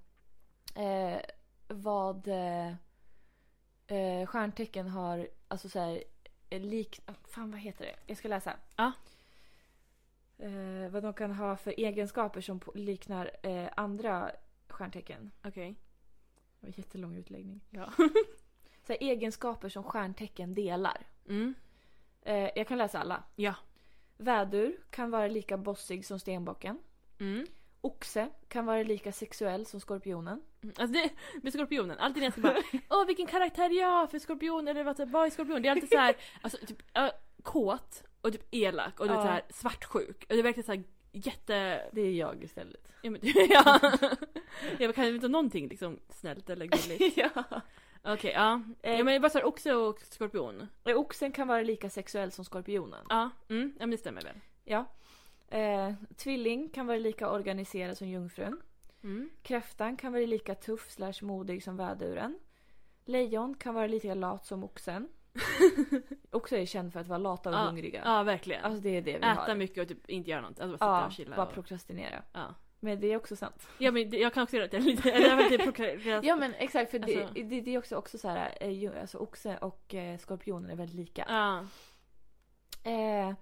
B: eh, eh, vad eh, eh, stjärntecken har, alltså så här eh, lik... ah, Fan vad heter det? Jag ska läsa.
A: Ja.
B: Eh, vad de kan ha för egenskaper som på- liknar eh, andra stjärntecken.
A: Okej.
B: Det var en jättelång utläggning.
A: Ja.
B: Så här, egenskaper som stjärntecken delar.
A: Mm.
B: Eh, jag kan läsa alla.
A: Ja.
B: Vädur kan vara lika bossig som stenbocken.
A: Mm.
B: Oxe kan vara lika sexuell som skorpionen.
A: Mm. Alltså det, med skorpionen, alltid när jag ska bara Åh vilken karaktär är jag för skorpion eller vad, så här, vad är skorpion? Det är alltid så här, alltså typ äh, kåt och typ elak och du vet
B: Ja.
A: så här, svartsjuk. Och det är verkligen så här jätte...
B: Det är jag istället.
A: Ja, men, ja. Jag kan ju inte ha någonting liksom snällt eller gulligt.
B: ja.
A: Okej, ja.
B: Eh,
A: ja. men bara så här, oxe och skorpion.
B: Eh, Oxen kan vara lika sexuell som skorpionen.
A: Ja, mm, ja men det stämmer väl.
B: Ja. Eh, tvilling kan vara lika organiserad som jungfrun.
A: Mm.
B: Kräftan kan vara lika tuff slash modig som väduren. Lejon kan vara lika lat som oxen. Oxen är känd för att vara lata och
A: Ja,
B: hungriga.
A: Ja verkligen.
B: Alltså det är det vi
A: Äta
B: har.
A: mycket och typ inte göra något. Alltså bara sitta
B: Ja,
A: och chilla.
B: bara
A: och,
B: prokrastinera.
A: ja.
B: Men det är också sant.
A: ja men det, jag kan också göra det lite. Eller jag typ vet inte, prokrastinerat.
B: Ja men exakt för det,
A: Alltså-
B: det, det är också, också så här, eh, ju- alltså oxen och eh, skorpionen är väldigt lika.
A: Ja.
B: Eh,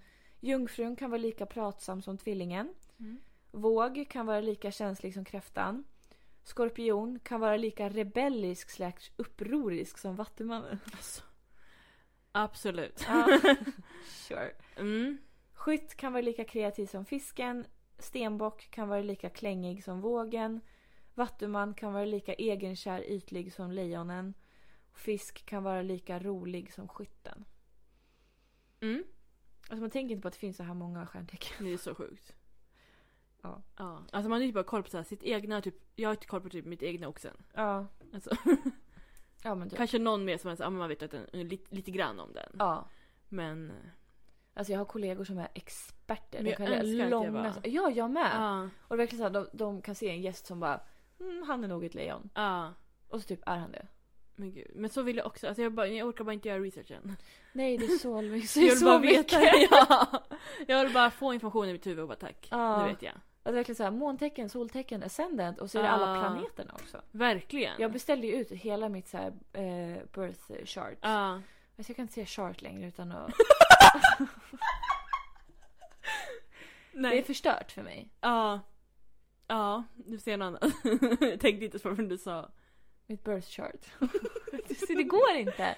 B: jungfrun kan vara lika pratsam som tvillingen.
A: Mm.
B: Våg kan vara lika känslig som kräftan. Skorpion kan vara lika rebellisk slash upprorisk som Vattumannen.
A: Alltså. Absolut.
B: sure.
A: Mm.
B: Skytt kan vara lika kreativ som fisken. Stenbock kan vara lika klängig som vågen. Vattuman kan vara lika egenkär ytlig som lejonen. Fisk kan vara lika rolig som skytten.
A: Mm.
B: Alltså man tänker inte på att det finns så här många stjärntecken.
A: Det är så sjukt.
B: Ja.
A: ja. Alltså man har ju bara koll på så här, sitt egna, typ, jag har inte koll på typ mitt egna oxen.
B: Ja.
A: Alltså,
B: Ja men typ.
A: kanske någon mer som är så, här, ja, men man vet att den, lite, lite grann om den.
B: Ja.
A: Men...
B: Alltså jag har kollegor som är experter.
A: Men
B: De
A: jag
B: kan göra
A: önskar att jag
B: långa...
A: var.
B: Ja, jag med.
A: Ja.
B: Och verkligen så här, de, de kan se en gäst som bara mm, han är nog ett lejon.
A: Ja.
B: Och så typ är han det.
A: Men gud. Men så vill jag också, alltså jag, bara, jag orkar bara inte göra researchen.
B: Nej, det är så
A: Jag
B: mysigt.
A: vill bara veta. Ja. Jag vill bara få information i mitt huvud och bara tack.
B: Ja.
A: Nu vet jag.
B: Alltså verkligen så här, måntecken, soltecken, ascendant och så är det alla
A: Ja.
B: planeterna också.
A: Verkligen.
B: Jag beställde ju ut hela mitt så här, eh, birth chart.
A: Ja.
B: Alltså jag kan inte säga chart längre utan att... Det är
A: Nej.
B: förstört för mig.
A: Ja. Ja, du ser något annat. Jag tänkte inte på vad du sa.
B: Mitt birth chart. Så det går inte.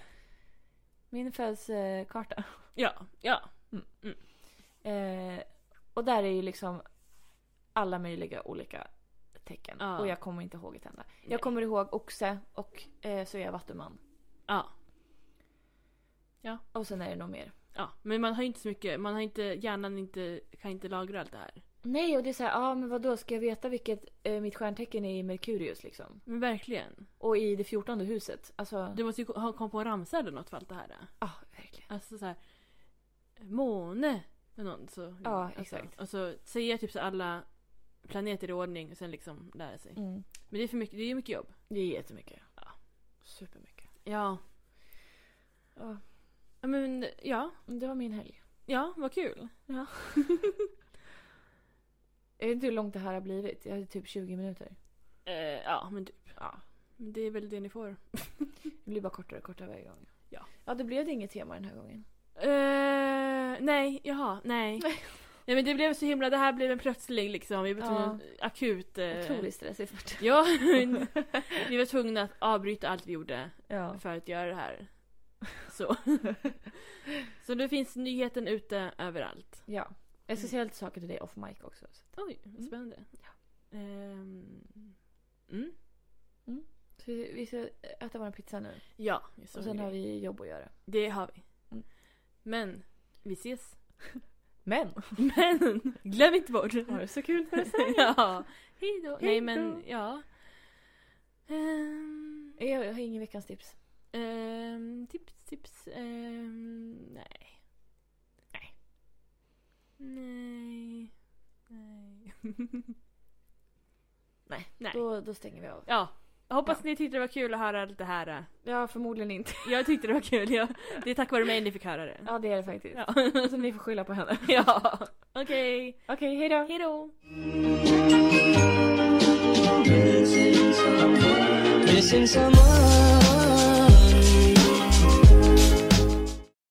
B: Min födelsekarta.
A: Ja, ja.
B: Eh, och där är ju liksom alla möjliga olika tecken.
A: Ja.
B: Och jag kommer inte ihåg ett enda.
A: Nej.
B: Jag kommer ihåg oxe och eh, så är jag vattuman.
A: ja.
B: Och sen är det nog mer.
A: Ja, men man har ju inte så mycket, man har inte, hjärnan inte, kan inte lagra allt det här.
B: Nej, och det är så här, ja ah, men då ska jag veta vilket eh, mitt stjärntecken är i Merkurius liksom?
A: Men verkligen.
B: Och i det fjortonde huset. Alltså,
A: Du måste ju ha kommit på en ramsa eller något för allt det här.
B: ja verkligen.
A: Alltså så här. Måne. Eller något, så,
B: Ja,
A: alltså,
B: exakt.
A: Och så säger typ så alla planeter i ordning och sen liksom lära sig.
B: Mm.
A: Men det är för mycket, det är ju mycket jobb.
B: Det är jättemycket.
A: Ja.
B: Supermycket.
A: Ja.
B: Ja,
A: Ja, Men ja,
B: det var min helg.
A: ja, vad kul.
B: Jag vet inte hur långt det här har blivit. Jag hade typ 20 minuter.
A: Eh, ja, men typ. Ja. Men det är väl det ni får.
B: Det blir bara kortare och kortare varje gång.
A: Ja.
B: Ja, det blev det inget tema den här gången.
A: Eh, nej, jaha, nej.
B: Nej.
A: nej men det blev så himla, det här blev en plötslig liksom. Vi var
B: Ja.
A: tvungna, akut. eh,
B: Otroligt stressigt vart det.
A: Ja, vi var tvungna att avbryta allt vi gjorde
B: Ja.
A: för att göra det här. Så. Så nu finns nyheten ute överallt.
B: ja. Jag ska säga lite saker till dig off mic också. Så,
A: Oj, spännande. Ehm, mm.
B: så vi vi ska äta vår pizza nu.
A: Ja, jag är så
B: och sen
A: hungrig.
B: har vi jobb att göra.
A: det har vi.
B: Mm.
A: Men, vi ses.
B: Men!
A: Men, glöm inte bort.
B: Har det så kul för sig.
A: ja. Hej då. Nej
B: Hej
A: men,
B: då.
A: ja. Ehm,
B: Jag, jag har ingen veckans tips.
A: ehm, tips, tips. ehm, nej. Nej. Nej. Nej.
B: Nej.
A: Nej.
B: Då, då stänger vi av.
A: Ja. Jag hoppas ni tyckte det var kul att höra allt det här.
B: Ja, förmodligen inte.
A: Jag tyckte det var kul. Jag, det är tack vare mig ni fick höra det.
B: Ja, det är det faktiskt.
A: Ja.
B: Så ni får skylla på henne.
A: ja. Okej.
B: Okej, hej då!
A: Hej då.
C: Missing someone.